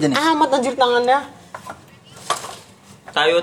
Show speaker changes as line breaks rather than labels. dyan eh.
Ah, matadyot na nga na.